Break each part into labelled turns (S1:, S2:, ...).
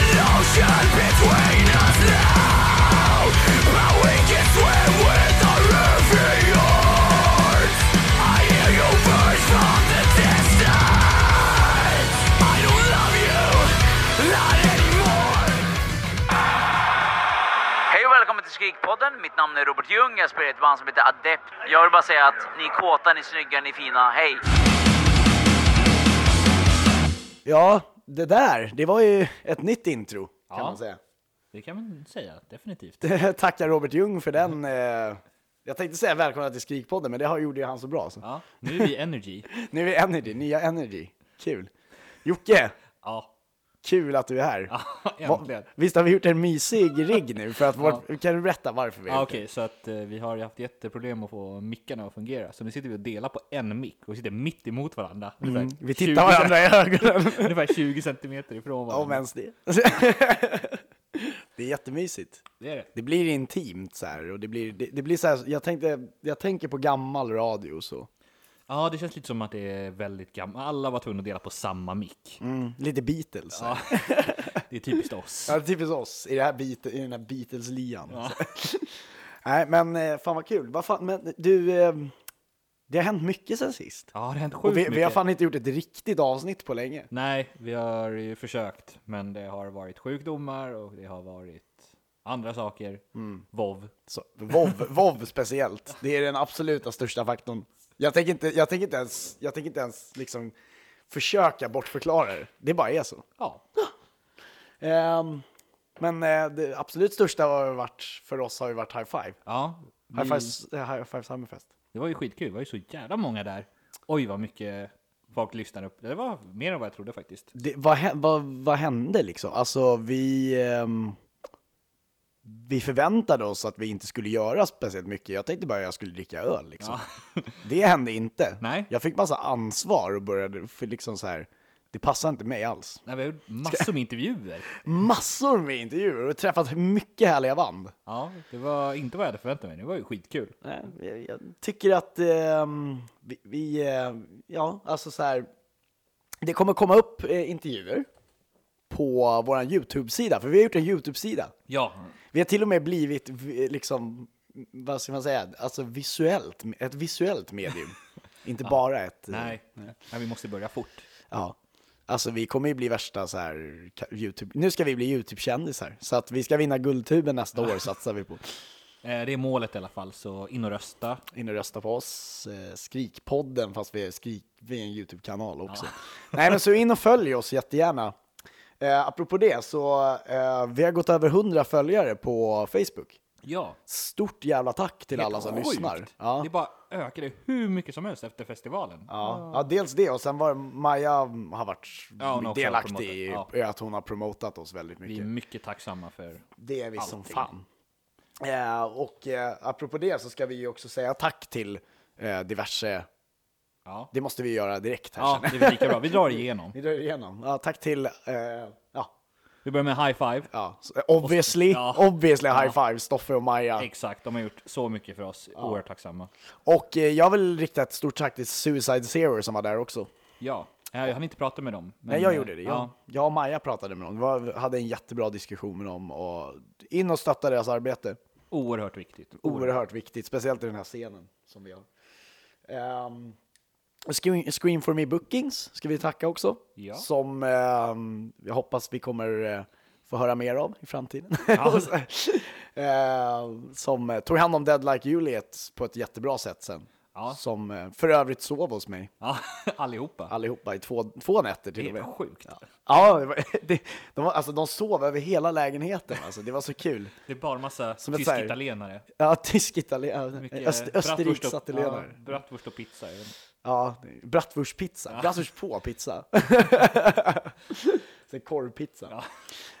S1: division between us now. But we can swim with the riviers. I hear you burst from the distance. I don't love you, not anymore.
S2: Hej och välkommen till Skrikpodden. Mitt namn är Robert Ljung. Jag spelar i ett band som heter Adept. Jag vill bara säga att ni är kåta, ni är snygga, ni är fina. Hej!
S3: Ja, det där, det var ju ett nytt intro kan
S4: Ja.
S3: man säga.
S4: Det kan man säga, definitivt.
S3: Tackar Robert Ljung för
S4: Mm.
S3: den. Eh, jag tänkte säga välkomna till Skrikpodden, men det har- gjorde ju han så bra. Så.
S4: Ja, nu är vi energy.
S3: Nu är vi Energy, nya Energy. Kul. Jocke,
S4: Ja,
S3: kul att du är här.
S4: ja
S3: Va-
S4: äntligen.
S3: Visst har vi gjort en mysig rigg nu? För att vårt, Kan du berätta varför vi har
S4: Ja,
S3: gjort
S4: Okej, så att eh, vi har ju haft jätteproblem att få mickarna att fungera. Så nu sitter vi och delar på en mick och sitter mitt emot varandra. Ungefär
S3: det? Mm, Vi tittar varandra i ögonen.
S4: Ungefär 20 centimeter ifrån
S3: Om
S4: varandra.
S3: ens det. det är jättemysigt.
S4: Det är det.
S3: Det blir intimt så här. Och det blir, det, det blir så här jag, tänkte, jag tänker på gammal radio och så.
S4: Ja, det känns lite som att det är väldigt gammalt. Alla var tvungna att dela på samma mick.
S3: Mm, lite Beatles.
S4: Ja, det är typiskt oss.
S3: Ja, det är typiskt oss i, det här beat, i den här Beatles-lian. Nej, men eh, fan vad kul. Vad fan, men du, eh, det har hänt mycket sen sist.
S4: Ja, det har hänt sjukt
S3: Och vi, vi har
S4: mycket.
S3: fan inte gjort ett riktigt avsnitt på länge.
S4: Nej, vi har ju försökt, men det har varit sjukdomar och det har varit andra saker.
S3: Mm.
S4: Vov.
S3: Så, vov, vov speciellt. Det är den absoluta största faktorn. Jag tänker inte, jag tänker inte ens, jag tänker inte ens liksom försöka bortförklara det. Det bara är så.
S4: Ja,
S3: Ehm, men eh, det absolut största har varit, för oss har ju varit High Five.
S4: ja. vi-
S3: High Five, eh, high five Summerfest.
S4: Det var ju skitkul, det var ju så jävla många där. Oj vad mycket folk lyssnade upp. Det var mer än vad jag trodde faktiskt.
S3: det, vad, hä- vad, vad hände liksom? Alltså vi, ehm, vi förväntade oss att vi inte skulle göra speciellt mycket. Jag tänkte bara att jag skulle dricka öl liksom. Det hände inte.
S4: Nej.
S3: Jag fick massa ansvar och började, för liksom så här, det passar inte mig alls.
S4: Nej, vi har gjort massor med intervjuer.
S3: Massor med intervjuer och träffat mycket härliga band.
S4: Ja, det var inte vad jag hade förväntat mig. Det var ju skitkul.
S3: Nej, Jag, jag tycker att ehm, vi, vi eh, ja, alltså så här, det kommer komma upp eh, intervjuer på vår YouTube-sida, för vi har gjort en YouTube-sida.
S4: Ja,
S3: Vi har till och med blivit, vi- liksom, vad ska man säga, alltså visuellt, ett visuellt medium. Inte bara ett... eh,
S4: nej. nej, vi måste börja fort.
S3: Ja. Alltså vi kommer ju bli värsta så här, ka- YouTube, nu ska vi bli YouTube-kändisar. Så att vi ska vinna Guldtuben nästa år satsar vi på.
S4: Eh, Det är målet i alla fall, så in och rösta.
S3: In och rösta på oss, eh, Skrikpodden, fast vi är, skrik, vi är en YouTube-kanal också. Nej men så in och följ oss jättegärna. Eh, apropå det, så eh, vi har gått över 100 följare på Facebook.
S4: Ja,
S3: Stort jävla tack till alla som
S4: Helt sjukt.
S3: lyssnar. Ja.
S4: Det bara ökade hur mycket som helst efter festivalen.
S3: Ja. ja, dels det och sen var Maja har varit
S4: Ja, hon har också
S3: delaktig
S4: promotat,
S3: i
S4: ja.
S3: i att hon har promotat oss väldigt
S4: Vi är
S3: mycket.
S4: mycket tacksamma för
S3: Det är vi som
S4: allting.
S3: fan. Eh, och eh, apropå det så ska vi ju också säga tack till eh, diverse,
S4: Ja,
S3: det måste vi göra direkt här
S4: ja
S3: känner jag.
S4: det är väl lika bra. Vi drar igenom.
S3: Vi drar igenom. Ja, tack till, eh, ja,
S4: Vi börjar med high five.
S3: ja, så, obviously,
S4: ja.
S3: obviously high five, Stoffe och Maja.
S4: Exakt, de har gjort så mycket för oss. Oerhört tacksamma.
S3: Och eh, jag vill rikta ett stort tack till Suicide Zero som var där också.
S4: Ja, eh, jag hann inte prata med dem. men,
S3: Nej, jag
S4: eh,
S3: gjorde det. Jag,
S4: Ja,
S3: jag och Maja pratade med dem. Det var, hade en jättebra diskussion med dem. Och in och stötta deras arbete.
S4: oerhört viktigt.
S3: Oerhört viktigt, speciellt i den här scenen som vi har. Ehm, Screen, Screen for me bookings ska vi tacka också.
S4: Ja.
S3: Som ehm, jag hoppas vi kommer eh, få höra mer av i framtiden. Och så- ehm, som eh, tog hand om Dead Like Juliet på ett jättebra sätt sen.
S4: Ja.
S3: Som eh, för övrigt sov hos mig
S4: Ja, allihopa.
S3: allihopa i två, två nätter till
S4: Det
S3: och med.
S4: är sjukt.
S3: Ja, det var, det, de, var- alltså, de sov över hela lägenheten. Alltså, det var så kul.
S4: Det är bara massa
S3: ett så här-
S4: tysk-italienare.
S3: Ja, tysk italienare,
S4: Mycket
S3: öst,
S4: bratwurst
S3: Österriks
S4: och-
S3: italienare.
S4: Ja, bratwurst och pizza. jag vet inte.
S3: Ja, bratwurstpizza. Bratwurst på pizza. Sen korvpizza.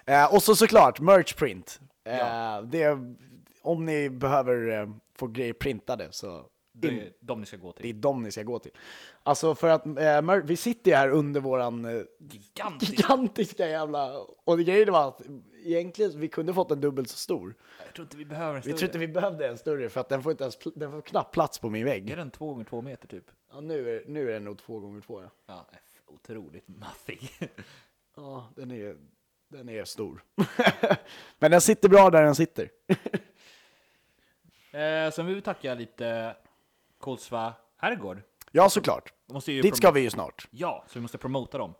S3: Eh, och så såklart merchprint. Eh, det, är- om ni behöver eh, få grejer printade så
S4: Det är de ni ska gå
S3: det är
S4: till.
S3: dem ni ska gå till. Alltså för att eh, mer- vi sitter ju här under våran eh,
S4: Gigantiskt!
S3: gigantiska jävla... Och det grejen var att egentligen vi kunde fått en dubbelt så stor.
S4: Jag tror inte vi behöver en
S3: Vi
S4: större.
S3: tror inte vi behövde en större för att den får, inte ens, pl- den får knappt plats på min
S4: Är
S3: vägg.
S4: den två gånger två meter typ?
S3: Ja, nu, är, nu är den nog två gånger två. Ja.
S4: Ja, f- otroligt nothing.
S3: ja, den är Den är stor. Men den sitter bra där den sitter.
S4: Eh, sen vill vi tacka lite Kolsva herrgård.
S3: Ja, såklart.
S4: Måste ju
S3: Dit ska
S4: prom-
S3: vi ju snart.
S4: Ja, så vi måste promota dem.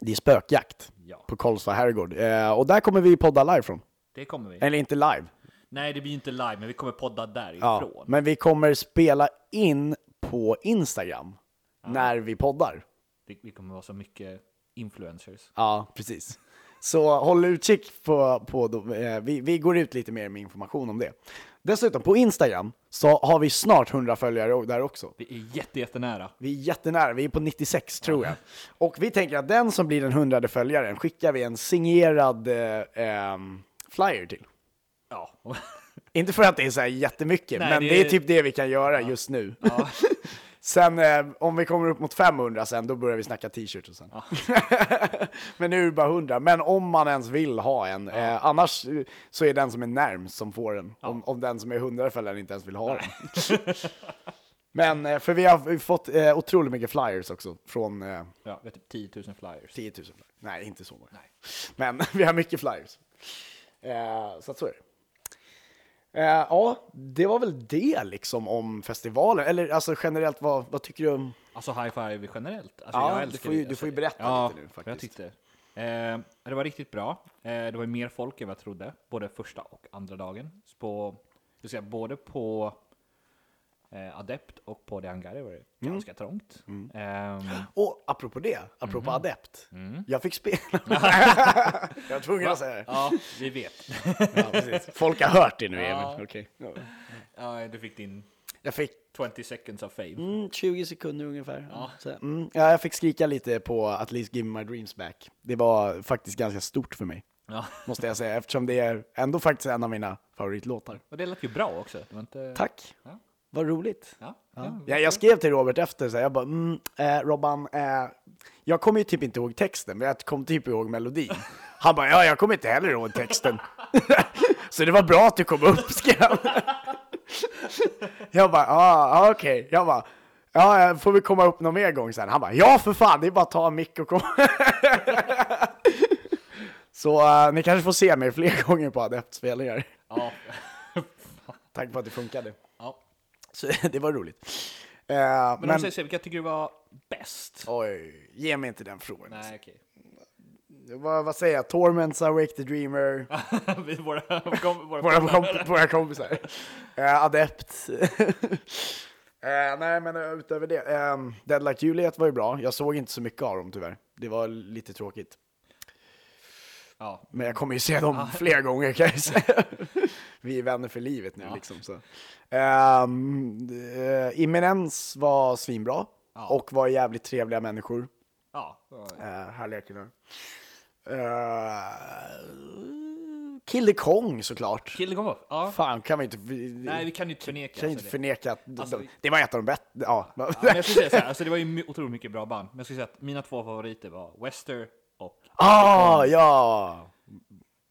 S3: Det är spökjakt
S4: Ja,
S3: på Karlstad herrgård. Eh, och där kommer vi podda live från.
S4: det kommer vi.
S3: Eller inte live.
S4: Nej, det blir ju inte live, men vi kommer podda därifrån.
S3: Ja. Men vi kommer spela in på Instagram när vi poddar.
S4: Det, vi kommer vara så mycket influencers.
S3: Ja, precis. Så håll utkik på, på de, eh, vi, vi går ut lite mer med information om det. Dessutom, på Instagram så har vi snart 100 följare o- där också.
S4: Vi är jätte, jättenära.
S3: Vi är jättenära, vi är på 96 tror jag. Och vi tänker att den som blir den hundrade följaren skickar vi en signerad eh, ehm, flyer till.
S4: Ja.
S3: Inte för att det är så här jättemycket,
S4: Nej,
S3: men
S4: det
S3: det...
S4: är-
S3: är typ det vi kan göra just nu.
S4: Ja.
S3: sen eh, om vi kommer upp mot 500 sen, då börjar vi snacka t-shirts och sen. men nu är det bara 100. Men om man ens vill ha en. Eh, annars eh, så är den som är närmst som får den. Om, om den som är 100 följaren inte ens vill ha den. men eh, för vi har vi har fått eh, otroligt mycket flyers också från eh,
S4: ja, vi har typ 10 000 flyers.
S3: 10 000 flyers. Nej, inte så många. Men vi har mycket flyers. Eh, så att så är det. Eh, ja, det var väl det liksom om festivalen. Eller alltså generellt, vad, vad tycker du om...
S4: Alltså high five generellt. Alltså,
S3: Ja,
S4: jag
S3: du
S4: älskar
S3: får ju-
S4: det.
S3: du får ju
S4: Alltså,
S3: berätta
S4: ja,
S3: lite nu, faktiskt.
S4: Jag tyckte. Eh, det var riktigt bra. Eh, det var ju mer folk än vad jag trodde, både första och andra dagen. Så På, jag säga, både på eh, Adept och på Dehangari var det
S3: Mm.
S4: ganska trångt. Ehm,
S3: Och apropå det, apropå adept. Mhm. Mm. Jag fick spela. jag var tvungen att säga det.
S4: ja, vi vet.
S3: Ja, precis. Folk har hört det nu, Emil. Okej.
S4: ja, du fick din
S3: Jag fick
S4: 20 seconds of fame.
S3: mm, 20 sekunder ungefär. Ja. Så, mm, ja, jag fick skrika lite på At least give me my dreams back. Det var faktiskt ganska stort för mig.
S4: Ja.
S3: måste jag säga, eftersom det är ändå faktiskt en av mina favoritlåtar.
S4: Och det lät ju bra också. Det var inte...
S3: Tack!
S4: Ja.
S3: Vad roligt!
S4: Ja,
S3: Ja.
S4: ja.
S3: Jag, jag skrev till Robert efter, så här, jag bara mm, eh, Robban, eh, jag kommer ju typ inte ihåg texten, men jag kom typ ihåg melodin. Han bara, ja jag kommer inte heller ihåg texten. så det var bra att du kom upp, skrev han. Jag bara, ja ah, okej. Jag bara, ja eh, får vi komma upp någon mer gång sen? Han bara, ja för fan, det är bara att ta en mick och komma. så eh, ni kanske får se mig fler gånger på adeptspelningar.
S4: Ja.
S3: Tack för att det funkade.
S4: ja.
S3: Så det var roligt. Eh,
S4: Men, om du säger så, vilka tycker du var bäst?
S3: Oj, ge mig inte den frågan.
S4: Nej, okej.
S3: Vad, vad säger jag? Torments, Awake the Dreamer,
S4: Vi- våra, kom, våra,
S3: våra, komp- våra kompisar. Eh, adept. Eh, nej, men eh, utöver det. Um, Dead Like Juliet var ju bra. Jag såg inte så mycket av dem tyvärr. Det var lite tråkigt.
S4: Ja.
S3: Men jag kommer ju se dem fler gånger kan jag säga. Vi är vänner för livet nu liksom. Så. Um, Imminens var svinbra.
S4: Ja.
S3: Och var jävligt trevliga människor.
S4: Ja.
S3: Uh, härliga killar. Uh, Kill the Kong såklart.
S4: Killgång upp. Ja.
S3: Fan, kan vi inte, vi,
S4: Nej, vi kan ju inte förneka.
S3: kan ju inte
S4: alltså, det.
S3: förneka att
S4: Alltså,
S3: de, det var ett av de bättre. Ja.
S4: Ja, men jag skulle säga så här, alltså, det var ju my- otroligt mycket bra band. Men jag skulle säga att mina två favoriter var Wester och...
S3: ah, ja,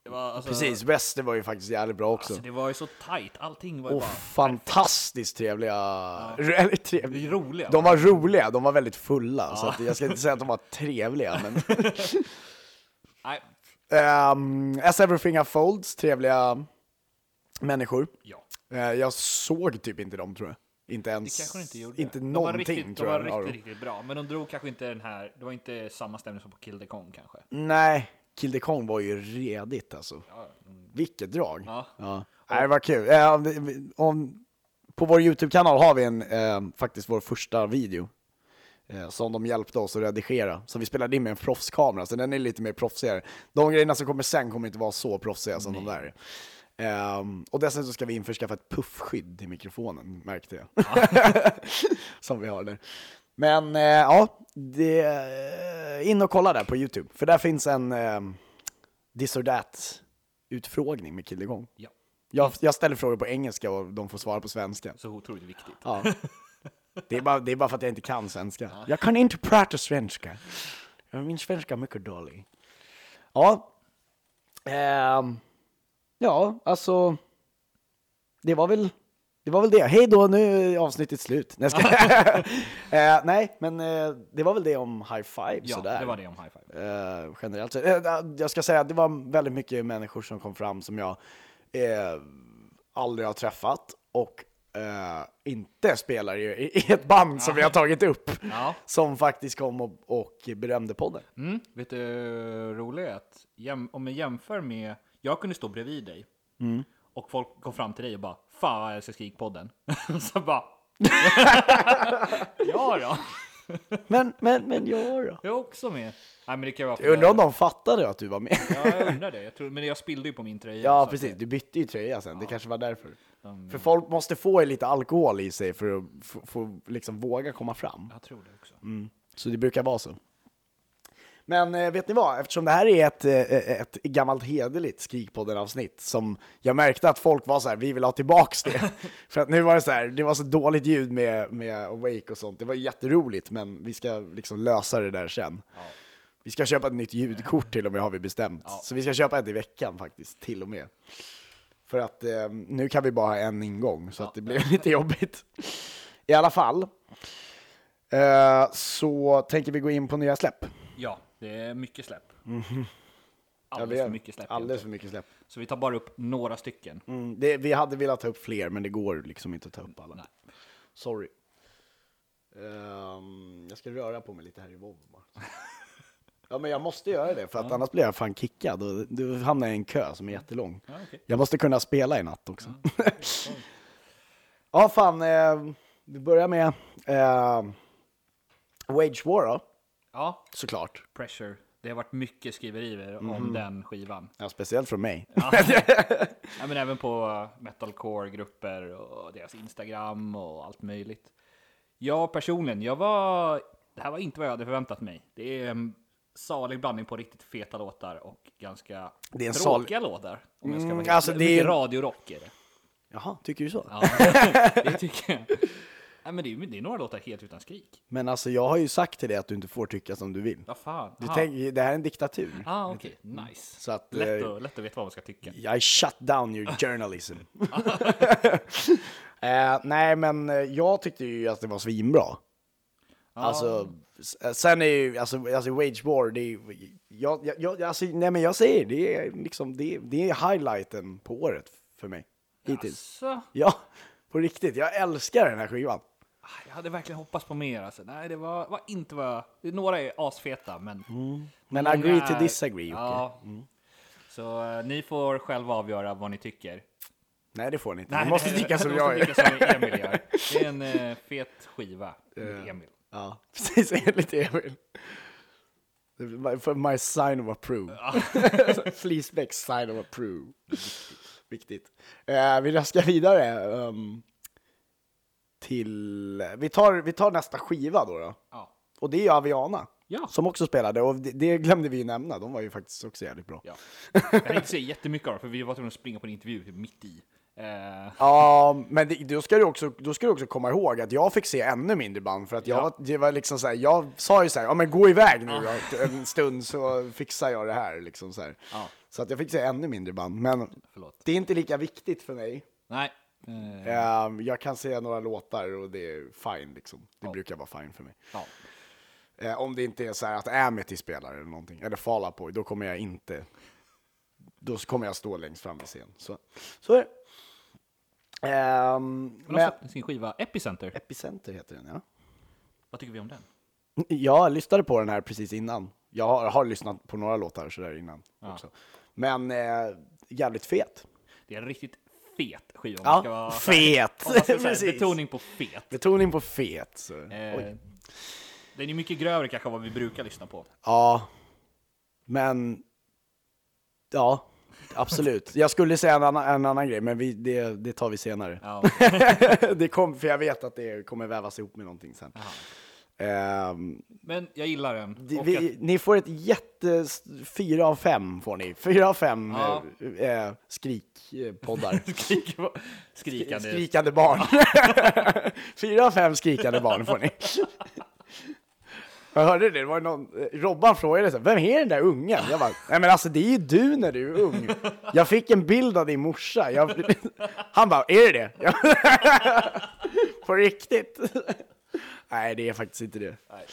S4: Det var, alltså,
S3: precis. Wester var ju faktiskt jävligt bra också.
S4: Alltså, det var ju så tight. Allting var ju
S3: och fantastiskt trevliga. Eller trevliga.
S4: bara roliga.
S3: De var roliga, de var väldigt fulla. Så att, jag ska inte säga att de var trevliga. Men,
S4: Nej,
S3: Ehm, As Everything Unfolds, trevliga människor.
S4: ja.
S3: Eh, Jag såg typ inte dem tror jag. Inte ens,
S4: Det kanske de inte gjorde.
S3: inte
S4: de var
S3: någonting
S4: riktigt,
S3: tror
S4: de var
S3: jag.
S4: riktigt,
S3: av dem.
S4: riktigt bra. Men de drog kanske inte den här, det var inte samma stämning som på Kill the Kong kanske.
S3: Nej, Kill the Kong var ju redigt alltså. Vilket drag.
S4: mm. Ja.
S3: Nej, det var kul. Eh, om vi- om, på vår YouTube-kanal har vi en, eh, faktiskt vår första video. Eh, som de hjälpte oss att redigera. Så vi spelade in med en proffskamera, så den är lite mer proffsigare. De grejerna som kommer sen kommer inte vara så proffsiga som de där är. Ehm, och dessutom ska vi införskaffa ett puffskydd till mikrofonen, märkte jag. som vi har där. Men eh, ja, det, eh, in och kolla där på YouTube. För där finns en eh, this or that utfrågning med Killegång.
S4: Ja.
S3: Jag, jag ställer frågor på engelska och de får svara på svenska.
S4: Så otroligt viktigt.
S3: Ja. Det, är bara, det är bara för att jag inte kan svenska. Jag kan inte prata svenska. Min svenska är mycket dålig. Ja. Ehm, ja, alltså. Det var väl Det var väl det. Hej då, nu är avsnittet slut. Nej, jag skojar. eh, nej men eh, det var väl det om high five
S4: Ja,
S3: sådär.
S4: det var det om high five.
S3: Eh, generellt sett. Eh, jag ska säga att det var väldigt mycket människor som kom fram som jag eh, aldrig har träffat och eh, inte spelar i, i ett band som vi har tagit upp.
S4: Ja.
S3: Som faktiskt kom och, och berömde podden.
S4: Mm. Vet du hur roligt är att jäm- om jag jämför med, jag kunde stå bredvid dig
S3: Mm.
S4: och folk kom fram till dig och bara Fan vad jag älskar Skrikpodden. så bara Ja då,
S3: Men, men, men jag då?
S4: jag är också med. Nej, men det kan vara för
S3: Jag undrar om de fattade att du var med.
S4: Ja, jag undrar det. Jag tror, men jag spillde ju på min tröja. så
S3: Ja,
S4: att
S3: precis.
S4: det-
S3: Du bytte ju tröja sen. Det kanske var därför. För folk måste få lite alkohol i sig för att f- få liksom våga komma fram.
S4: Jag tror det också.
S3: Mm. Så det brukar vara så. Men eh, vet ni vad? Eftersom det här är ett, eh, ett gammalt hederligt Skrikpodden-avsnitt som jag märkte att folk var så här, vi vill ha tillbaks det. För att nu var det så här, det var så dåligt ljud med, med Awake och sånt. Det var jätteroligt, men vi ska liksom lösa det där sen. Vi ska köpa ett nytt ljudkort till och med har vi bestämt. Så vi ska köpa ett i veckan faktiskt, till och med. För att eh, nu kan vi bara ha en ingång, så att det blev lite jobbigt. I alla fall. Eh, så tänker vi gå in på nya släpp.
S4: Ja, det är mycket släpp.
S3: Ja,
S4: Alldeles
S3: vi har
S4: för mycket släpp.
S3: Mm. Alldeles
S4: egentligen.
S3: för mycket släpp.
S4: Så vi tar bara upp några stycken.
S3: Mm, det, vi hade velat ta upp fler, men det går liksom inte att ta upp alla.
S4: Nej.
S3: Sorry. Ehm, jag ska röra på mig lite här i WoW bara. Ja, men jag måste göra det, för att annars blir jag fan kickad. Och du hamnar i en kö som är jättelång.
S4: Ja, okej.
S3: Jag måste kunna spela i natt också. Ja, fan. eh, vi börjar med eh, Wage War då,
S4: Ja,
S3: såklart.
S4: Pressure. Det har varit mycket skriverier om den skivan.
S3: Mhm. Ja, speciellt från mig.
S4: Ja, men även på eh, metalcore-grupper och deras Instagram och allt möjligt. Jag personligen, jag var... Det här var inte vad jag hade förväntat mig. Det är en salig blandning på riktigt feta låtar och ganska
S3: Det är en sal-
S4: tråkiga låtar. Om jag ska vara
S3: Mm,
S4: helt-
S3: alltså, det är-
S4: Mycket radiorock är det.
S3: Jaha, tycker du så?
S4: Ja, det tycker jag. Nej, men det, är, det är några låtar helt utan skrik.
S3: Men alltså jag har ju sagt till dig att du inte får tycka som du vill.
S4: Vad fan?
S3: Du
S4: Aha.
S3: tänker, det här är en diktatur.
S4: Ah, okej. Nice.
S3: Så att,
S4: lätt,
S3: eh,
S4: att, lätt att veta vad man ska tycka.
S3: I shut down your journalism. eh, nej, men eh, jag tyckte ju att det var svinbra. Alltså, s- eh, sen är ju, alltså, alltså Wage War, det är ju, jag, jag- jag, alltså, nej men jag säger det är liksom, det, är- det är highlighten på året för mig. Hittills.
S4: Alltså,
S3: Ja, på riktigt. Jag älskar den här skivan.
S4: ah, jag hade verkligen hoppats på mer. Alltså. Nej, det var, var inte vad... jag- det- Några är asfeta, men...
S3: Mm. Men
S4: många
S3: agree to
S4: är-
S3: disagree, Mm. Jocke.
S4: Ja. Så eh, ni får själva avgöra vad ni tycker.
S3: Nej, det får ni inte.
S4: Nej,
S3: ni måste
S4: nej,
S3: tycka som
S4: ni
S3: jag
S4: måste
S3: gör.
S4: tycka som Emil gör. Det är en eh, fet skiva. med Emil.
S3: Ja, precis enligt Emil. My, for my sign of approve. Fleecebacks sign of approve. Viktigt. Eh, vi raskar vidare. ehm, till... Vi tar, vi tar nästa skiva då. då.
S4: Ja.
S3: Och det är ju Aviana.
S4: Ja.
S3: Som också spelade. Och det, det glömde vi ju nämna. De var ju faktiskt också jävligt bra. Ja,
S4: Ja. Jag tänkte säga jättemycket av det, för vi var tvungna att springa på en intervju typ mitt i. Eh,
S3: men det, då, ska du också, då ska du också komma ihåg att jag fick se ännu mindre band. För att jag,
S4: Ja.
S3: var- det var liksom så här, jag sa ju så här, ja men gå iväg nu då, en stund så fixar jag det här. Liksom så här.
S4: Ah. Ja.
S3: så att jag fick se ännu mindre band. Men
S4: Förlåt.
S3: det är inte lika viktigt för mig.
S4: Nej. Eh,
S3: Ehm, jag kan se några låtar och det är fine liksom. Det
S4: Ja.
S3: brukar vara fine för mig.
S4: ja.
S3: Eh, om det inte är så här att Amity spelar eller någonting, eller Fall Out Boy, då kommer jag inte... Då kommer jag stå längst fram i scen. Så, så är det. Ehm,
S4: Men alltså,
S3: men-
S4: har släppt sin skiva Epicenter.
S3: Epicenter heter den, ja.
S4: Vad tycker vi om den?
S3: Jag lyssnade på den här precis innan. Jag har, har lyssnat på några låtar sådär innan också. Men eh, jävligt fet.
S4: Det är en riktigt fet skiva. om man ska
S3: Ja,
S4: vara-
S3: fet!
S4: om man ska säga
S3: Precis.
S4: Betoning på fet.
S3: Betoning på fet. Så.
S4: Eh,
S3: Oj.
S4: den är mycket grövre kanske än vad vi brukar lyssna på.
S3: Ja, men... Ja, absolut. Jag skulle säga en annan, en annan grej, men vi, det, det tar vi senare.
S4: Ja.
S3: det kom, för jag vet att det kommer vävas ihop med någonting sen. Ehm,
S4: Men jag gillar den.
S3: Det-
S4: Och
S3: vi,
S4: att-
S3: Ni får ett jätte... fyra av fem får ni. fyra av fem
S4: Ja.
S3: eh, eh, skrikpoddar.
S4: skrik, skrikande.
S3: skrikande barn. fyra av fem skrikande barn får ni. Jag hörde det, det var någon, eh, Robban frågade så här, vem är den där ungen? Jag bara, nej men alltså det är ju du när du är ung. Jag fick en bild av din morsa. Jag, han bara, är det det? Jag, på riktigt? Nej, det är faktiskt inte det.
S4: Nej,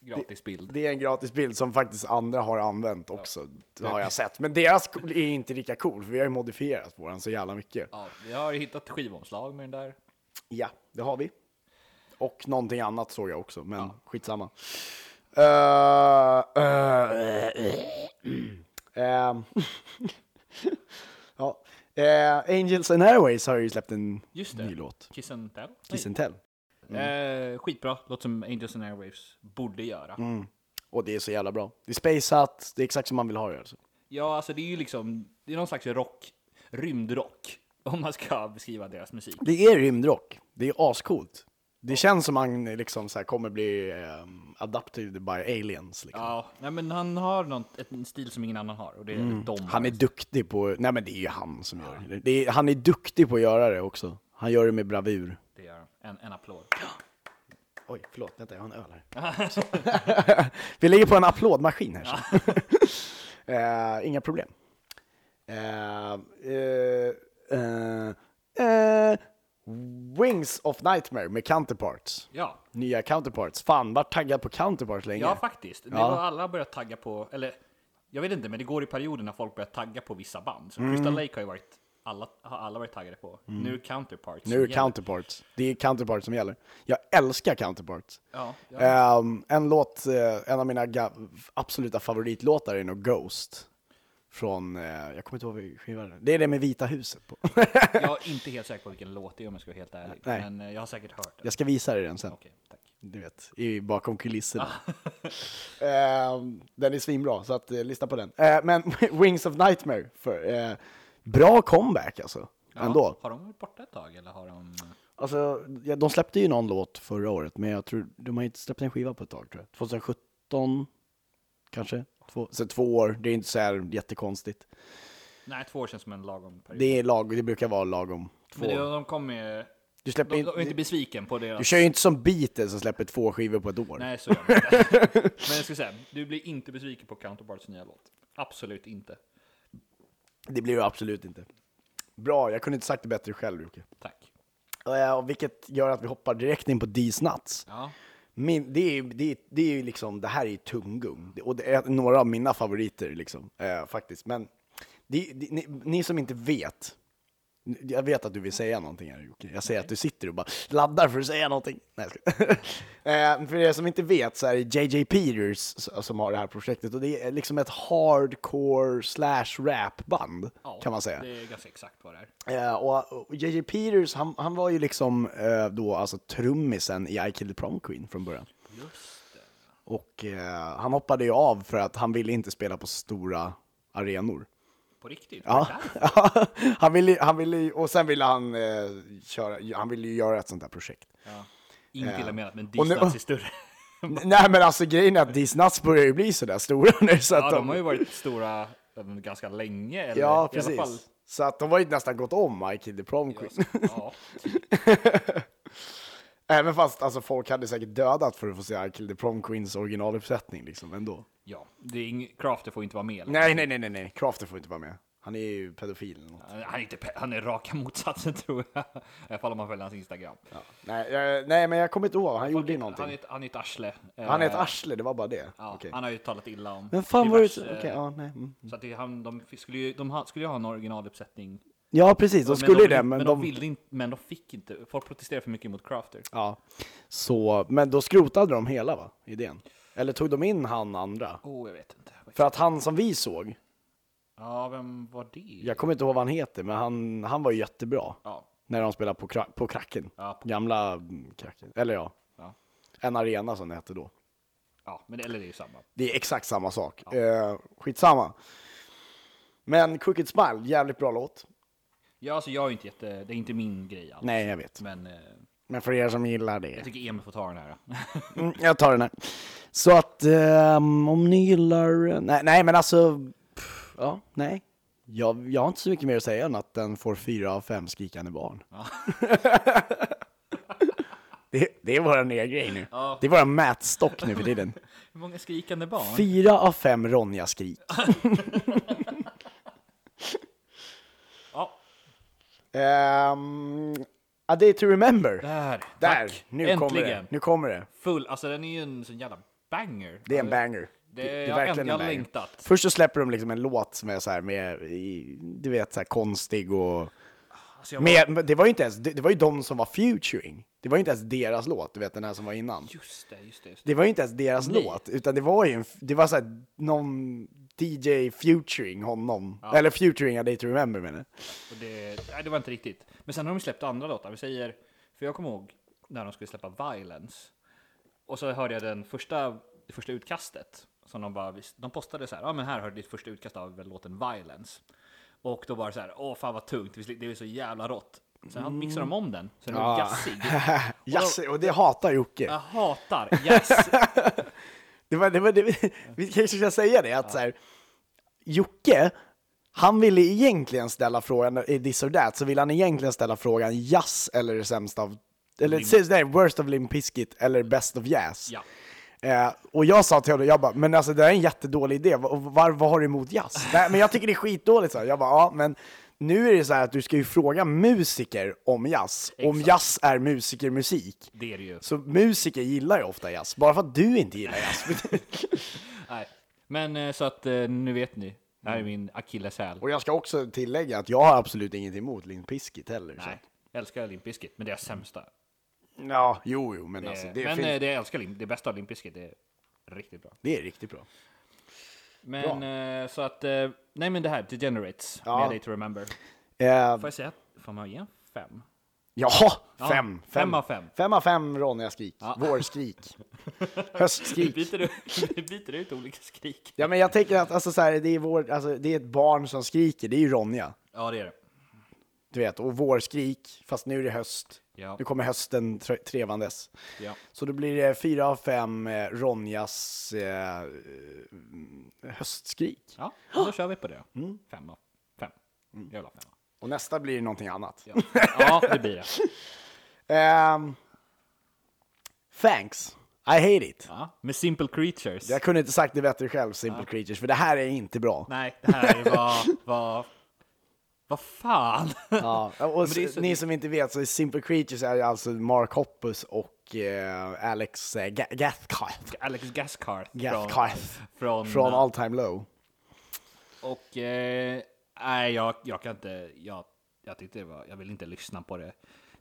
S4: det är en gratis bild.
S3: Det är en gratis bild som faktiskt andra har använt också, har jag sett. Men deras är inte lika cool, för vi har ju modifierat våran så jävla mycket.
S4: Ja, jag har ju hittat skivomslag med den där.
S3: Ja, det har vi. Och någonting annat såg jag också, men skitsamma. Eh, eh, ehm. ja. eh, Angels and Airways har ju släppt en
S4: Just det.
S3: ny låt,
S4: Kiss and Tell? Nej.
S3: Kiss and Tell.
S4: Eh, skitbra, låt som Angels and Airwaves borde göra.
S3: Mm. Och det är så jävla bra. Det är spaceat, det är exakt som man vill ha det. Alltså.
S4: Ja, alltså det är ju liksom, det är någon slags rock, rymdrock, om man ska beskriva deras musik.
S3: Det är rymdrock, det är ascoolt. Det känns som man liksom så här kommer bli ehm, adapted by aliens. Liksom.
S4: Ja, nej, men han har något, ett, en stil som ingen annan har och det är de.
S3: Mm. Han är duktig på, nej men det är ju han som gör det. det. Är, han är duktig på att göra det också. Han gör det med bravur.
S4: det gör en, en applåd.
S3: Oj, förlåt, vänta jag har en öl här. Vi ligger på en applådmaskin här. så. Eh, inga problem. Eh, eh, eh, eh, Wings of Nightmare med Counterparts.
S4: Ja,
S3: Nya Counterparts. Fan, vart taggad på Counterparts länge.
S4: ja faktiskt. Det
S3: Ja.
S4: var alla börjat tagga på, eller jag vet inte, men det går i perioder när folk börjar tagga på vissa band. Så
S3: Mm.
S4: Crystal Lake har ju varit, alla, har alla varit taggade på. Nu är Counterparts.
S3: Nu är
S4: som
S3: det
S4: gäller.
S3: counterparts. Det är counterparts som gäller. Jag älskar counterparts.
S4: Ja, ja.
S3: Ehm, en låt, eh, en av mina ga- absoluta favoritlåtar är nog Ghost. Från, eh, jag kommer inte ihåg vilken skiva det är. Det är det med Vita huset på.
S4: Jag är inte helt säker på vilken låt det är om jag ska vara helt ärlig.
S3: Nej.
S4: Men eh, jag har säkert hört den.
S3: jag ska visa dig den sen.
S4: Okej, tack.
S3: Du vet, i, bakom kulisserna.
S4: Ah.
S3: Ehm, den är svinbra, så att, eh, lyssna på den. Eh, men Wings of Nightmare, för, eh, bra comeback alltså. Ändå.
S4: Har de varit borta ett tag eller har de...
S3: Alltså, ja, de släppte ju någon låt förra året, men jag tror, de har inte släppt en skiva på ett tag tror jag. 2017, kanske? Två, så två år, det är inte så här jättekonstigt.
S4: Nej, två år känns som en lagom period.
S3: Det, är lag, det brukar vara lagom. Två.
S4: Men det, de kom med...
S3: Du släpper
S4: De,
S3: in-
S4: de är inte besviken på
S3: Du
S4: deras...
S3: kör ju inte som Beatles som släpper två skivor på ett år.
S4: Nej, så gör de inte. Men jag ska säga, du blir inte besviken på Counterparts nya låt. Absolut inte.
S3: Det blir det absolut inte. Bra, jag kunde inte sagt det bättre själv Jocke.
S4: Tack.
S3: Eh, och vilket gör att vi hoppar direkt in på D's Nuts.
S4: Ja.
S3: Min, det, är, ju- det, är, det är ju liksom, det här är ju tunggung. Det- Och det är några av mina favoriter liksom, eh, faktiskt. Men det, det, ni, ni som inte vet, jag vet att du vill säga någonting här Jocke. Jag ser att du sitter och bara laddar för att säga någonting. Nej, jag skojar. eh, För er som inte vet så är det JJ Peters s- som har det här projektet. Och det är liksom ett hardcore slash rapband
S4: ja.
S3: kan man säga.
S4: Det är ganska exakt vad det är.
S3: Eh, och och JJ Peters, han, han var ju liksom eh, då alltså trummisen i I Killed the Prom Queen från början.
S4: Just det.
S3: Och eh, han hoppade ju av för att han ville inte spela på stora arenor.
S4: På riktigt?
S3: Ja.
S4: Där?
S3: han ville, han ville, ju- och sen ville han eh, köra, han ville ju göra ett sånt här projekt.
S4: ja. Inte illa menat, men
S3: Och nu-
S4: Disney är större.
S3: N- Nej men alltså grejen är att These Nuts börjar ju bli sådär stora nu så att
S4: Ja, de har ju varit stora äm, ganska länge. Eller
S3: Ja,
S4: I alla fall,
S3: precis. Så att de har ju nästan gått om I Killed the Prom Queen.
S4: ja.
S3: Även fast alltså, folk hade säkert dödat för att få se I Killed the Prom Queens originaluppsättning liksom ändå.
S4: ja. Det är ing... Crafter får inte vara med. eller?
S3: Nej, nej, nej, nej, nej. Crafter får inte vara med. Han är ju pedofil eller något.
S4: Han är, inte, pe- han är raka motsatsen tror jag. I alla fall om man följer hans Instagram.
S3: Nej, jag, nej, men jag kommer inte ihåg. Han gjorde ju någonting.
S4: Han är, ett- han är ett arsle. Eh,
S3: Han är ett arsle, det var bara det.
S4: Ja,
S3: Okej.
S4: Han har ju talat illa om
S3: Men fan var det...
S4: diverse-
S3: Okej, ja, nej. mm.
S4: Så att det, är han, de, fick- skulle ju, de ha, skulle ju ha en originaluppsättning.
S3: Ja, precis. De skulle
S4: de,
S3: ju det, men de...
S4: ville inte, men de fick inte. Folk protesterade för mycket mot Crafter.
S3: Ja. Så, men då skrotade de hela, va? Idén. Eller tog de in han andra?
S4: Oh, jag vet inte.
S3: För att han som vi såg,
S4: Ja, vem var det?
S3: jag kommer inte ihåg vad han heter, men han, han var ju jättebra.
S4: Ja.
S3: När de spelade på, kra- på Kraken.
S4: Ja, på-
S3: Gamla mm, Kraken. Eller ja,
S4: Ja,
S3: en arena som det hette då.
S4: ja men, eller det är ju samma.
S3: Det är exakt samma sak. Eh, skitsamma. Men Crooked Smile, jävligt bra låt.
S4: Ja, alltså jag är inte jätte, det är inte min grej alls.
S3: Nej, jag vet.
S4: Men eh,
S3: Men för er som gillar det.
S4: jag tycker Emil får ta den här.
S3: Mm, jag tar den här. Så att ehm, om ni gillar... Nej, nej men alltså... Pff, ja, nej. Jag, jag har inte så mycket mer att säga än att den får fyra av fem skrikande barn. Det, det är vår nya grej nu.
S4: Ja.
S3: Det är vår mätstock nu för tiden.
S4: Hur många skrikande barn?
S3: Fyra av fem Ronja-skrik.
S4: ja,
S3: Ehm, A Day to Remember.
S4: där.
S3: Där,
S4: Tack.
S3: nu
S4: Äntligen.
S3: kommer det. Nu kommer det.
S4: Full, alltså den är ju en sån jävla banger.
S3: Det är en
S4: Alltså,
S3: banger.
S4: Det, jag har äntligen längtat.
S3: Först så släpper de liksom en låt som är så här med, i- du vet, så här konstig och...
S4: Alltså, jag
S3: Med, men det var ju inte ens, det, det var ju de som var featuring. Det var ju inte ens deras låt, du vet den här som var innan.
S4: Just det, just det. Just det.
S3: Det var ju inte ens deras
S4: Nej.
S3: låt, utan det var ju en, det var så här, någon DJ featuring honom. Eller featuring A Day to Remember menar jag.
S4: Och det, nej, det var inte riktigt. Men sen har de släppt andra låtar. Vi säger, för jag kommer ihåg när de skulle släppa Violence. Och så hörde jag den första, det första utkastet. Som de, bara, vis- de postade så här, ja men här har du ditt första utkast av låten Violence. Och då var det så här, åh fan vad tungt, det är så jävla rått. Sen mixade de om den, så den blev
S3: Ja.
S4: jazzig.
S3: Jazz, och det hatar Jocke.
S4: Jag hatar jazz.
S3: Det var, det var, det, vi kanske ska säga det, att så här, Jocke, han ville egentligen ställa frågan, i this or that, så ville han egentligen ställa frågan jazz eller sämst av, eller säg- nej, worst of Limp Bizkit eller best of jazz.
S4: Ja.
S3: Eh, och jag sa till honom, jag bara, men alltså det här är en jättedålig idé, Va- och var, vad har du emot jazz? Nej, men jag tycker det är skitdåligt, så. jag bara, ja, men nu är det så här att du ska ju fråga musiker om jazz, om
S4: Exakt.
S3: jazz är musikermusik.
S4: Det är det ju.
S3: Så musiker gillar ju ofta jazz, bara för att du inte gillar jazz.
S4: Nej. Men eh, så att eh, nu vet ni. Det här är min akilleshäl.
S3: Och jag ska också tillägga att jag har absolut ingenting emot Limp Bizkit heller.
S4: Nej, jag älskar Limp Bizkit, men det är sämsta.
S3: Så. Ja, jo, jo, men det, alltså,
S4: Eh,
S3: det,
S4: men
S3: finns,
S4: eh, det jag älskar Limp, det bästa av Limp Bizkit, det är riktigt bra.
S3: det är riktigt bra.
S4: Men eh, så att, eh, nej men det här, Degenerates,
S3: Ja.
S4: med A Day to Remember.
S3: Eh,
S4: Får jag säga, får man ge en fem?
S3: jaha,
S4: Ja,
S3: fem,
S4: fem av fem.
S3: Fem av fem Ronja-skrik, vårskrik,
S4: Vi
S3: höstskrik.
S4: byter, ut, vi byter ut olika skrik.
S3: Ja, men jag tänker att alltså, så här, det, är vår, alltså, det är ett barn som skriker, det är ju Ronja.
S4: Ja det är det.
S3: Du vet, och vårskrik, fast nu är det höst.
S4: Ja.
S3: Nu kommer hösten tre- trevandes.
S4: Ja.
S3: Så då blir det fyra av fem eh, Ronjas eh, eh, höstskrik.
S4: Ja, då kör vi på det.
S3: Mm.
S4: Fem av fem. Jag vill ha fem.
S3: Och nästa blir någonting annat.
S4: Ja. ja, det blir det.
S3: Ehm, thanks, I hate it.
S4: Ja. Med Simple Creatures.
S3: Jag kunde inte sagt det bättre själv, Simple Creatures, för det här är inte bra.
S4: Nej, det här var, var, vad fan.
S3: Ja, och
S4: det är så-
S3: ni som inte vet, så är Simple Creatures är ju alltså Mark Hoppus och eh, Alex eh, Ga- Gathkarth
S4: Alex Gaskarth.
S3: Gathkarth.
S4: Från,
S3: från All Time Low.
S4: Och eh, nej, jag, jag kan inte. Jag, jag tyckte det var. Jag vill inte lyssna på det.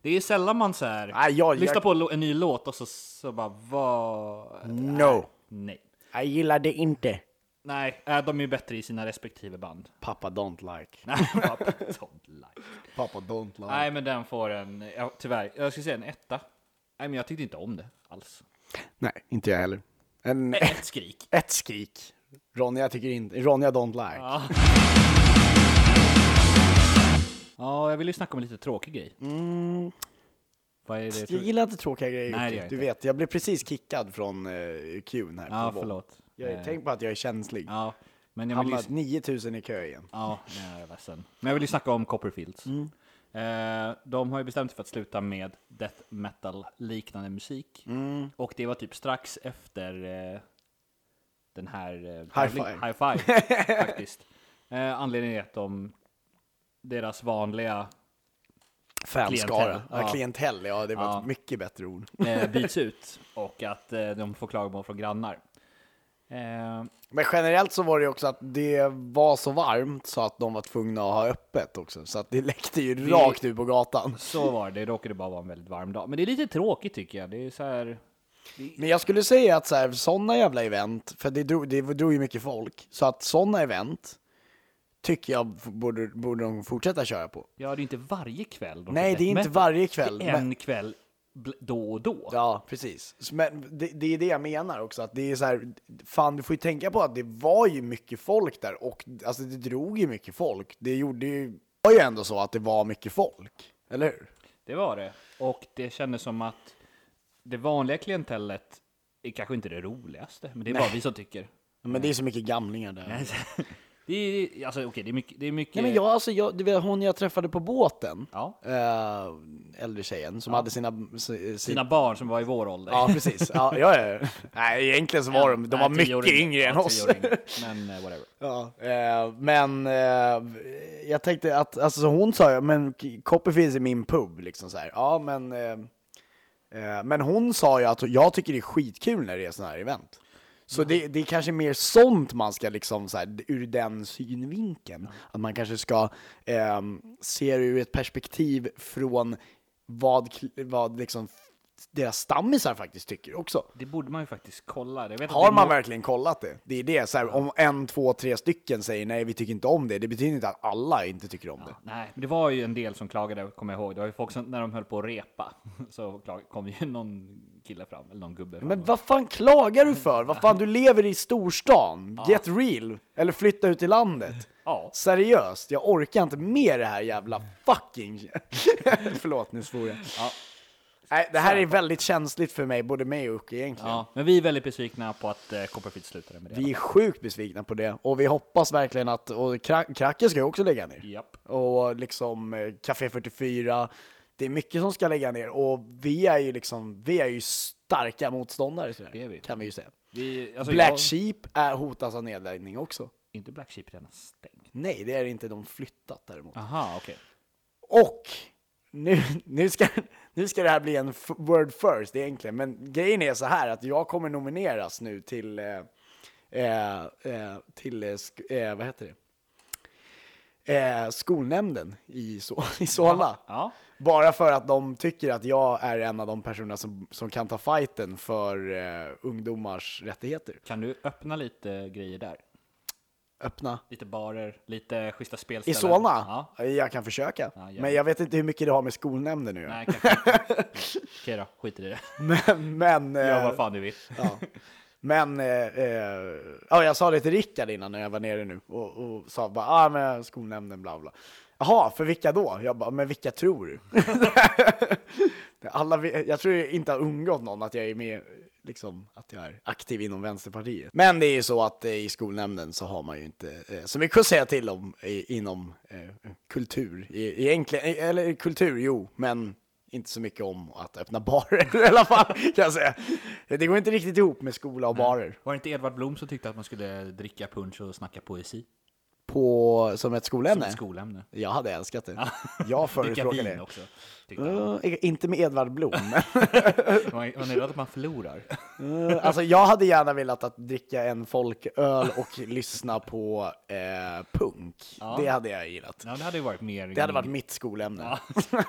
S4: Det är sällan man så här.
S3: Nej, jag-
S4: lyssnar
S3: jag-
S4: på en lo- en ny låt och så, så bara vad?
S3: No.
S4: Nej,
S3: Jag gillar det inte.
S4: nej, eh, de är ju bättre i sina respektive band.
S3: Pappa don't like.
S4: Nej, vad don't like.
S3: Pappa don't like.
S4: nej, men den får en. Ja, tyvärr, jag skulle säga en etta. Nej, men jag tyckte inte om det alls.
S3: Nej, inte jag heller. En,
S4: Ett skrik.
S3: ett skrik. Ronja tycker inte, Ronja don't like.
S4: Ja, jag vill ju snacka om en lite tråkig grej.
S3: Mm.
S4: Vad är det?
S3: Jag gillar inte tråkiga grejer.
S4: Nej,
S3: Jocke.
S4: det gör jag
S3: du
S4: inte.
S3: vet, jag blev precis kickad från uh, queuen här.
S4: Ja,
S3: på Volvo.
S4: förlåt.
S3: Jag,
S4: Eh,
S3: Tänk på att jag är känslig.
S4: Ja, men jag vill ju...
S3: Hamnat 9000 i kö igen.
S4: Ja, nej, jag är ledsen. Men jag vill ju snacka om Copperfields. Eh, de har ju bestämt sig för att sluta med death metal-liknande musik. Och det var typ strax efter eh, den här... Eh, tävling-
S3: five.
S4: High five, faktiskt. Eh, anledningen är att de... Deras vanliga
S3: Fanskara.
S4: Klientell.
S3: Ja,
S4: Ja.
S3: klientell, ja det var
S4: Ja.
S3: ett mycket bättre ord.
S4: eh, byts ut och att eh, de får klagomål från grannar. Eh,
S3: Men generellt så var det ju också att det var så varmt så att de var tvungna att ha öppet också. Så att det läckte ju rakt ut på gatan.
S4: så var det, det råkade bara vara en väldigt varm dag. Men det är lite tråkigt tycker jag. Det är så här...
S3: Men jag skulle säga att så här, sådana jävla event, för det drog, det drog ju mycket folk, så att sådana event tycker jag f- borde, borde de fortsätta köra på.
S4: Ja, det är ju inte varje kväll. de
S3: Nej,
S4: kör
S3: det är
S4: death
S3: inte
S4: metal.
S3: varje kväll,
S4: Det är en kväll bl- då och då.
S3: Ja, precis. Så, Men det, det är det jag menar också, att det är så här, fan du får ju tänka på att det var ju mycket folk där och alltså det drog ju mycket folk. Det gjorde ju, det var ju ändå så att det var mycket folk, eller hur?
S4: Det var det. Och det kändes som att det vanliga klientellet är kanske inte det roligaste, men det är bara vi som tycker.
S3: Men det är så mycket gamlingar där.
S4: Det är, alltså, okej, det är mycket... Det är mycket
S3: Nej, men jag, alltså, jag, du vet, hon jag träffade på båten,
S4: Ja.
S3: eh, äldre tjejen som hade sina... si- si-
S4: Sina barn som var i vår ålder.
S3: Ja, precis. Ja, ja, ja. Nej, egentligen så var de, de var
S4: Nej, tio år
S3: mycket yngre än
S4: Ja, tio
S3: oss.
S4: år yngre. Men eh, whatever.
S3: Ja, eh, men eh, jag tänkte att, alltså så hon sa ju, men Copy finns i min pub, liksom så här. Ja, men, eh, eh, men hon sa ju att jag tycker det är skitkul när det är sådana här event. Så det, det är kanske mer sånt man ska liksom så här, ur den synvinkeln. Att man kanske ska eh, se det ur ett perspektiv från vad, kl- vad liksom deras stammisar faktiskt tycker också.
S4: Det borde man ju faktiskt kolla. Jag vet att
S3: Har
S4: det
S3: man
S4: må-
S3: verkligen kollat det? Det är det, så här, om en, två, tre stycken säger nej, vi tycker inte om det, det betyder inte att alla inte tycker om det.
S4: Nej, men det var ju en del som klagade, kommer jag ihåg. Det var ju folk som, när de höll på att repa, så klag- kom ju någon kille fram, eller någon gubbe fram.
S3: Men vad fan klagar du för? Vad fan, du lever i storstan. Get real! Eller flytta ut i landet.
S4: Ja.
S3: Seriöst, jag orkar inte med det här jävla fucking... Förlåt, nu svor jag.
S4: Ja.
S3: Nej, det här är väldigt känsligt för mig, både mig och Uke egentligen.
S4: ja, men vi är väldigt besvikna på att eh, Copperfield slutade med det.
S3: Vi är sjukt besvikna på det och vi hoppas verkligen att, och Kra- Kraken ska ju också lägga ner.
S4: Japp.
S3: Och liksom eh, Café 44, det är mycket som ska lägga ner och vi är ju liksom, vi är ju starka motståndare till det,
S4: Det är vi.
S3: kan vi ju säga.
S4: Vi, alltså,
S3: Black
S4: jag-
S3: Sheep är hotas av nedläggning också.
S4: Inte Black Sheep redan stängt.
S3: Nej, det är det inte, de flyttat däremot.
S4: Aha, okej.
S3: Och nu, nu, ska, nu ska det här bli en f- word first egentligen, men grejen är så här att jag kommer nomineras nu till, eh, eh, eh, till eh, sk- eh, vad heter det? Eh, skolnämnden i, so- i Solna.
S4: Ja.
S3: Bara för att de tycker att jag är en av de personerna som, som kan ta fighten för eh, ungdomars rättigheter.
S4: Kan du öppna lite grejer där?
S3: Öppna.
S4: Lite barer, lite schyssta
S3: I
S4: spelställen.
S3: Solna?
S4: Ja.
S3: Jag kan försöka.
S4: Ja, gärna.
S3: men jag vet inte hur mycket det har med skolnämnden nu att göra.
S4: Nej, kanske inte. Okej då, skit i det.
S3: Men, men, eh,
S4: Gör vad fan du vill.
S3: Ja. Men, eh, eh, ja, jag sa det till Rickard innan när jag var nere nu och, och sa bara, ah, men skolnämnden bla bla. Jaha, för vilka då? Jag bara, men vilka tror du? Alla, vi- jag tror det inte har undgått någon att jag är med, liksom att jag är aktiv inom Vänsterpartiet. Men det är ju så att eh, i skolnämnden så har man ju inte eh, så mycket att säga till om i, inom eh, kultur. E- Egentligen, eller kultur, jo, men inte så mycket om att öppna barer i alla fall, kan jag säga. Det går inte riktigt ihop med skola och barer.
S4: Var det inte Edvard Blom som tyckte att man skulle dricka punch och snacka poesi?
S3: På, som ett
S4: Som
S3: skolämne?
S4: ett skolämne.
S3: jag hade älskat det. Jag
S4: Dricka
S3: förespråkar
S4: vin
S3: det.
S4: också. tyckte han.
S3: Eh, inte med Edvard Blom, men
S4: Man man är rädd att man förlorar.
S3: Eh, Alltså jag hade gärna velat att dricka en folköl och lyssna på eh, punk. Det hade jag gillat.
S4: Ja, det hade ju varit mer...
S3: Det hade varit mitt skolämne.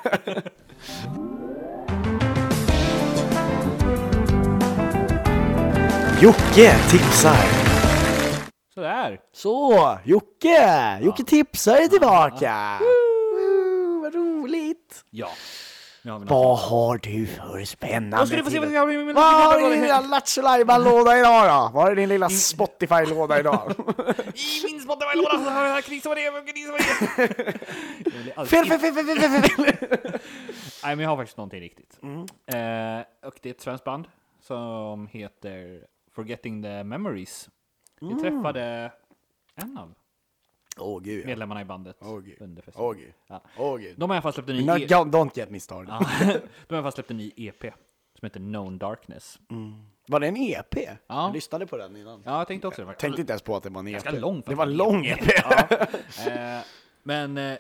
S3: Jocke tipsar.
S4: Sådär!
S3: Så, Jocke! Jocke tipsar är tillbaka! Woo, vad roligt!
S4: Ja. Nu har vi något.
S3: Vad har du för spännande?
S4: Nu ska du få se vad jag har i min-
S3: Vad har du i din lilla Lattjo-lajban-låda idag då? Vad är din lilla Spotify-låda idag?
S4: I min Spotify-låda så har jag Kris och det, Kris och det. Jag blir alltid-
S3: fel, fel, fel, fel, fel, fel, fel, fel.
S4: Nej, men jag har faktiskt någonting riktigt. Eh, och det är ett svenskt band som heter Forgetting the Memories. Vi träffade en av
S3: Åh gud. ja.
S4: medlemmarna i bandet
S3: Åh, gud.
S4: under festivalen.
S3: Åh gud.
S4: Ja.
S3: Åh gud.
S4: De har i alla fall släppt en ny
S3: No,
S4: E-
S3: don't, don't get me started.
S4: Ja. De har i alla fall släppt en ny EP som heter Known Darkness.
S3: Var det en EP?
S4: Ja.
S3: Jag lyssnade på den innan.
S4: Ja, jag tänkte också det. var-
S3: Tänkte inte ens på att det var en EP.
S4: Ganska lång för
S3: det var en
S4: att E
S3: lång EP.
S4: Eh, men eh,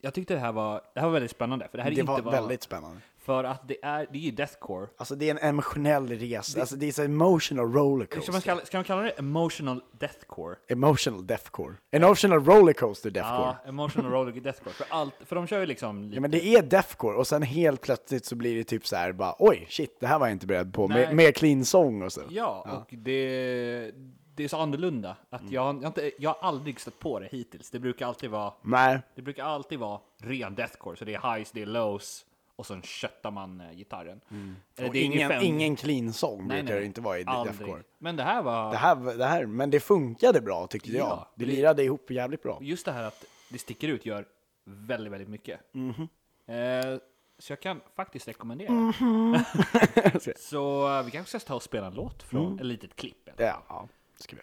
S4: jag tyckte det här var, det här var väldigt spännande. För det här är
S3: Det
S4: inte
S3: var
S4: vad-
S3: väldigt spännande.
S4: För att det är, det är ju deathcore.
S3: Alltså det är en emotionell resa. Alltså det är så emotional
S4: Ska man,
S3: rollercoaster.
S4: kalla, ska man kalla det emotional deathcore?
S3: Emotional deathcore. Emotional rollercoaster deathcore.
S4: Ja, emotional roller deathcore. För, allt, för de kör ju liksom...
S3: Ja
S4: Lite,
S3: men det är deathcore och sen helt plötsligt så blir det typ så här bara oj shit det här var jag inte beredd på. Med,
S4: Nej.
S3: med clean sång och så.
S4: ja, och det, det är så annorlunda. Att
S3: Mm.
S4: jag, jag, har inte, jag har aldrig stött på det hittills. Det brukar alltid vara,
S3: Nej.
S4: det brukar alltid vara ren deathcore. Så det är highs, det är lows och sen köttar man eh, gitarren. Eller
S3: Mm. Och
S4: det är
S3: ingen,
S4: fem-
S3: ingen clean sång
S4: Nej,
S3: brukar
S4: nej,
S3: det inte vara i
S4: aldrig.
S3: deathcore.
S4: Men det här var...
S3: Det här, det här, men det funkade bra tyckte jag.
S4: Ja,
S3: Det
S4: det-
S3: lirade ihop jävligt bra.
S4: Just det här att det sticker ut gör väldigt, väldigt mycket.
S3: Mhm.
S4: Eh, så jag kan faktiskt rekommendera.
S3: Mhm. Mm.
S4: så eh, vi kanske ska ta och spela en låt från ett litet klipp. eller?
S3: Ja, ja, ska vi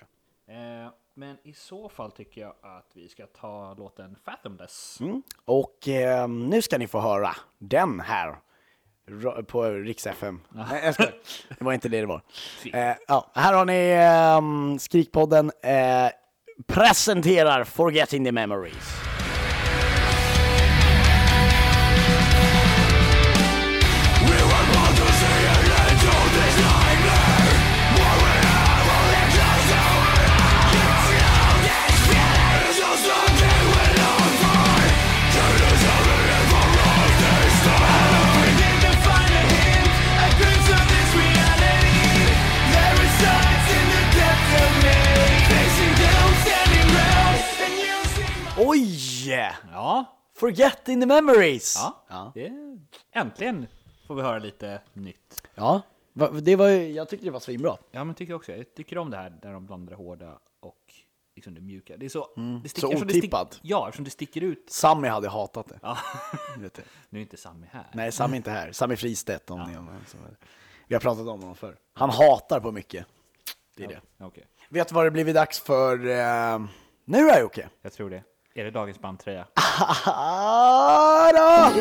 S3: göra.
S4: Eh, Men i så fall tycker jag att vi ska ta låten Fathomless.
S3: Mm. Och eh, nu ska ni få höra den här ra- på Rix FM. Nej, jag skojar. Det var inte det det var. Eh, ja, här har ni ehm, Skrikpodden eh, presenterar Forgetting the Memories. Oj!
S4: Ja,
S3: Forgetting the Memories!
S4: ja. Det är... äntligen får vi höra lite nytt.
S3: Ja, va- det var, ju- jag tyckte det var svinbra.
S4: Ja, men tycker jag också. Jag tycker om det här när de blandar det hårda och liksom det mjuka. Det är så, det
S3: Mm. så
S4: eftersom det stick-
S3: otippat.
S4: ja, eftersom det sticker ut.
S3: Sammy hade hatat det.
S4: Ja.
S3: Vet du.
S4: nu är inte Sammy här.
S3: Nej, Sammy är inte här. Sammy Fristedt om ni om som är- Vi har pratat om honom förr. Han hatar på mycket. Det är det.
S4: Okej,
S3: Vet du vad det blivit dags för eh, nu då Jocke?
S4: jag tror det. Är det dagens bandtröja?
S3: Ah, då!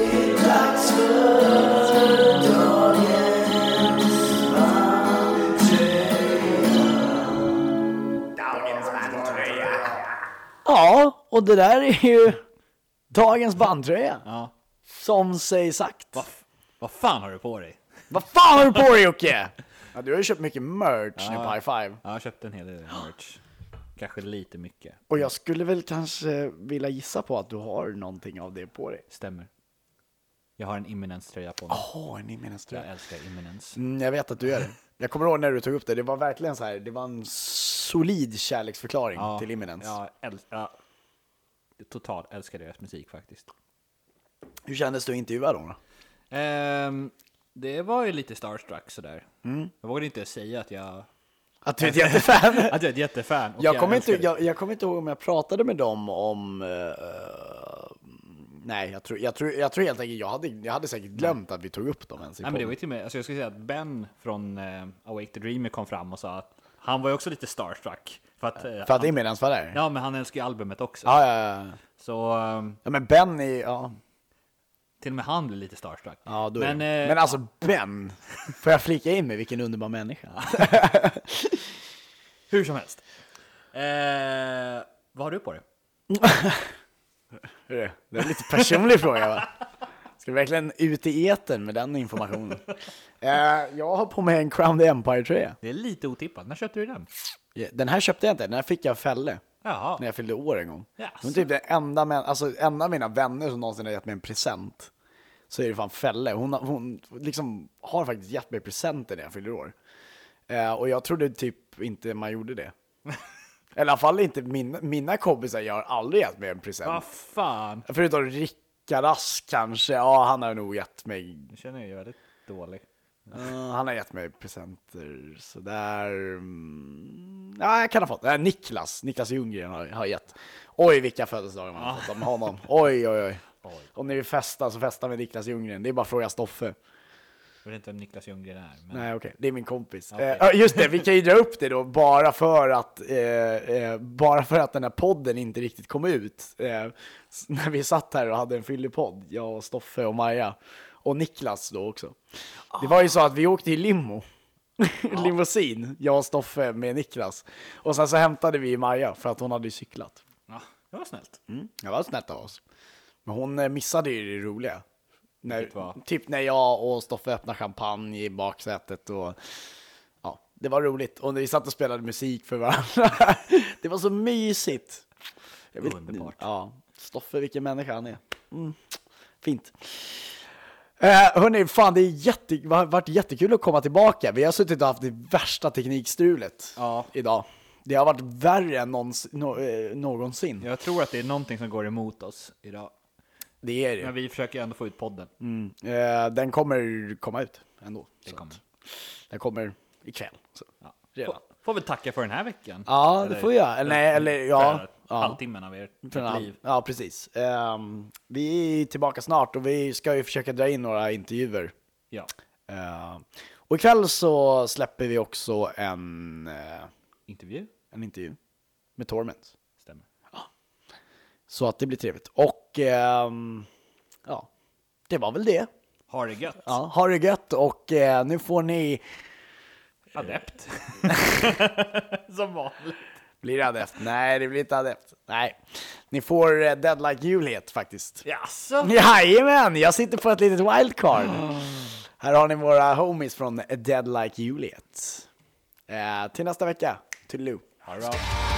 S3: Ja, och det där är ju dagens bandtröja.
S4: Ja.
S3: Som sig sagt.
S4: Vad f- vad fan har du på dig?
S3: Vad fan har du på dig Jocke? Ja, du har ju köpt mycket merch nu på High Five.
S4: Ja, jag köpte en hel del merch. Kanske lite mycket.
S3: Och jag skulle väl kanske vilja gissa på att du har någonting av det på dig.
S4: Stämmer. Jag har en Imminence-tröja på mig.
S3: Åh, ni menar
S4: Jag älskar Imminence.
S3: Mm, jag vet att du gör det. Jag kommer ihåg när du tog upp det, det var verkligen så här, det var en solid kärleksförklaring
S4: Ja,
S3: till Imminence.
S4: Ja, äl- ja. Totalt älskar deras musik faktiskt.
S3: Hur kändes du intervjuad då? då?
S4: Ehm, det var ju lite starstruck sådär.
S3: Mm.
S4: Jag vågade inte säga att jag,
S3: Att du är ett jättefan?
S4: att jag är ett jättefan. och
S3: Jag kommer, inte,
S4: älskar det.
S3: jag, jag kommer inte ihåg om jag pratade med dem om... eh, nej, jag tror, jag, tror, jag tror helt enkelt, jag hade, jag hade säkert glömt att vi tog upp dem ens i
S4: Nej, men det
S3: podden.
S4: var ju till och med, alltså jag skulle säga att Ben från eh, Awake the Dreamer kom fram och sa att han var ju också lite starstruck. För att, eh,
S3: För att
S4: han,
S3: Imminence var där?
S4: ja, men han älskar ju albumet också.
S3: Ja, ja, ja.
S4: Så ehm,
S3: ja men Ben är... Ja,
S4: till och med han blev lite starstruck.
S3: ja då
S4: men,
S3: är det.
S4: eh,
S3: men alltså Ben! Får jag flika in med vilken underbar människa?
S4: hur som helst. Eh, vad har du på dig?
S3: Hur är det? Det är en lite personlig fråga va? Ska vi verkligen ut i etern med den informationen? Eh, jag har på mig en Crown the Empire-tröja.
S4: Det är lite otippat. När köpte du den?
S3: Den här köpte jag inte, den här fick jag av Fälle.
S4: Jaha.
S3: När jag fyllde år en gång.
S4: Jaså.
S3: Hon är typ den enda, män, alltså, enda av mina vänner som någonsin har gett mig en present. Så är det fan Fälle. Hon, har- hon liksom har faktiskt gett mig presenter när jag fyller år. Eh, och jag trodde typ inte man gjorde det. Eller i alla fall inte mina, mina kompisar, jag har aldrig gett mig en present.
S4: Vad fan.
S3: Förutom Rickard Ask kanske, ja han har nog gett mig,
S4: Nu känner jag mig väldigt dålig.
S3: eh, han har gett mig presenter sådär. Mm, Ja, jag kan ha fått, eh, Niklas, Niklas Ljunggren har, har gett. Oj vilka födelsedagar man har fått av honom, oj oj oj. Om ni vill festa så festa med Niklas Ljunggren, det är bara att fråga Stoffe.
S4: Jag vet inte vem Niklas Ljunggren är. Men...
S3: Nej okej, det är min kompis. Eh, ja, just det, vi kan ju dra upp det då bara för att, eh, eh, bara för att den här podden inte riktigt kom ut. Eh, s- när vi satt här och hade en fyllig podd, jag och Stoffe och Maja. Och Niklas då också. Det var ju så att vi åkte i limo. Limousin, jag och Stoffe med Niklas. Och sen så hämtade vi Maja för att hon hade ju cyklat.
S4: Ja, det var snällt.
S3: Det var snällt av oss. Men hon eh, missade ju det roliga.
S4: Vilket var?
S3: När, typ när jag och Stoffe öppnade champagne i baksätet och ja, det var roligt. Och vi satt och spelade musik för varandra. det var så mysigt. Jag
S4: Underbart.
S3: Ja, Stoffe vilken människa han är. Mm. Fint. Eh, hörni, fan det är jätte, har varit jättekul att komma tillbaka. Vi har suttit och haft det värsta teknikstrulet
S4: Ja.
S3: idag. Det har varit värre än någons, nå- eh, någonsin.
S4: Jag tror att det är någonting som går emot oss idag.
S3: Det är det.
S4: Men vi försöker ändå få ut podden.
S3: Mm. Eh, den kommer komma ut ändå. så att
S4: kommer.
S3: Den kommer ikväll. Så.
S4: Ja.
S3: Redan.
S4: Får, får vi tacka för den här veckan?
S3: Ja, det får vi göra. Eller nej, eller ja,
S4: för
S3: ja.
S4: Halvtimmen av ert ert liv.
S3: Ja, precis. Ehm, vi är tillbaka snart och vi ska ju försöka dra in några intervjuer.
S4: Ja.
S3: Eh, och ikväll så släpper vi också en, eh,
S4: Intervju?
S3: en intervju. med Torment.
S4: Stämmer.
S3: Så att det blir trevligt. Och ehm, ja, det var väl det.
S4: Har det gött.
S3: Ja, ha det gött och eh, nu får ni...
S4: Adept. Som vanligt.
S3: Blir det adept? Nej, det blir inte adept. Nej, ni får eh, Dead Like You het faktiskt.
S4: Jaså?
S3: Jajamän, jag sitter på ett litet wildcard.
S4: Ah.
S3: Här har ni våra homies från Dead Like Juliet. Eh, till nästa vecka. Toodiloo.
S4: Ha det bra.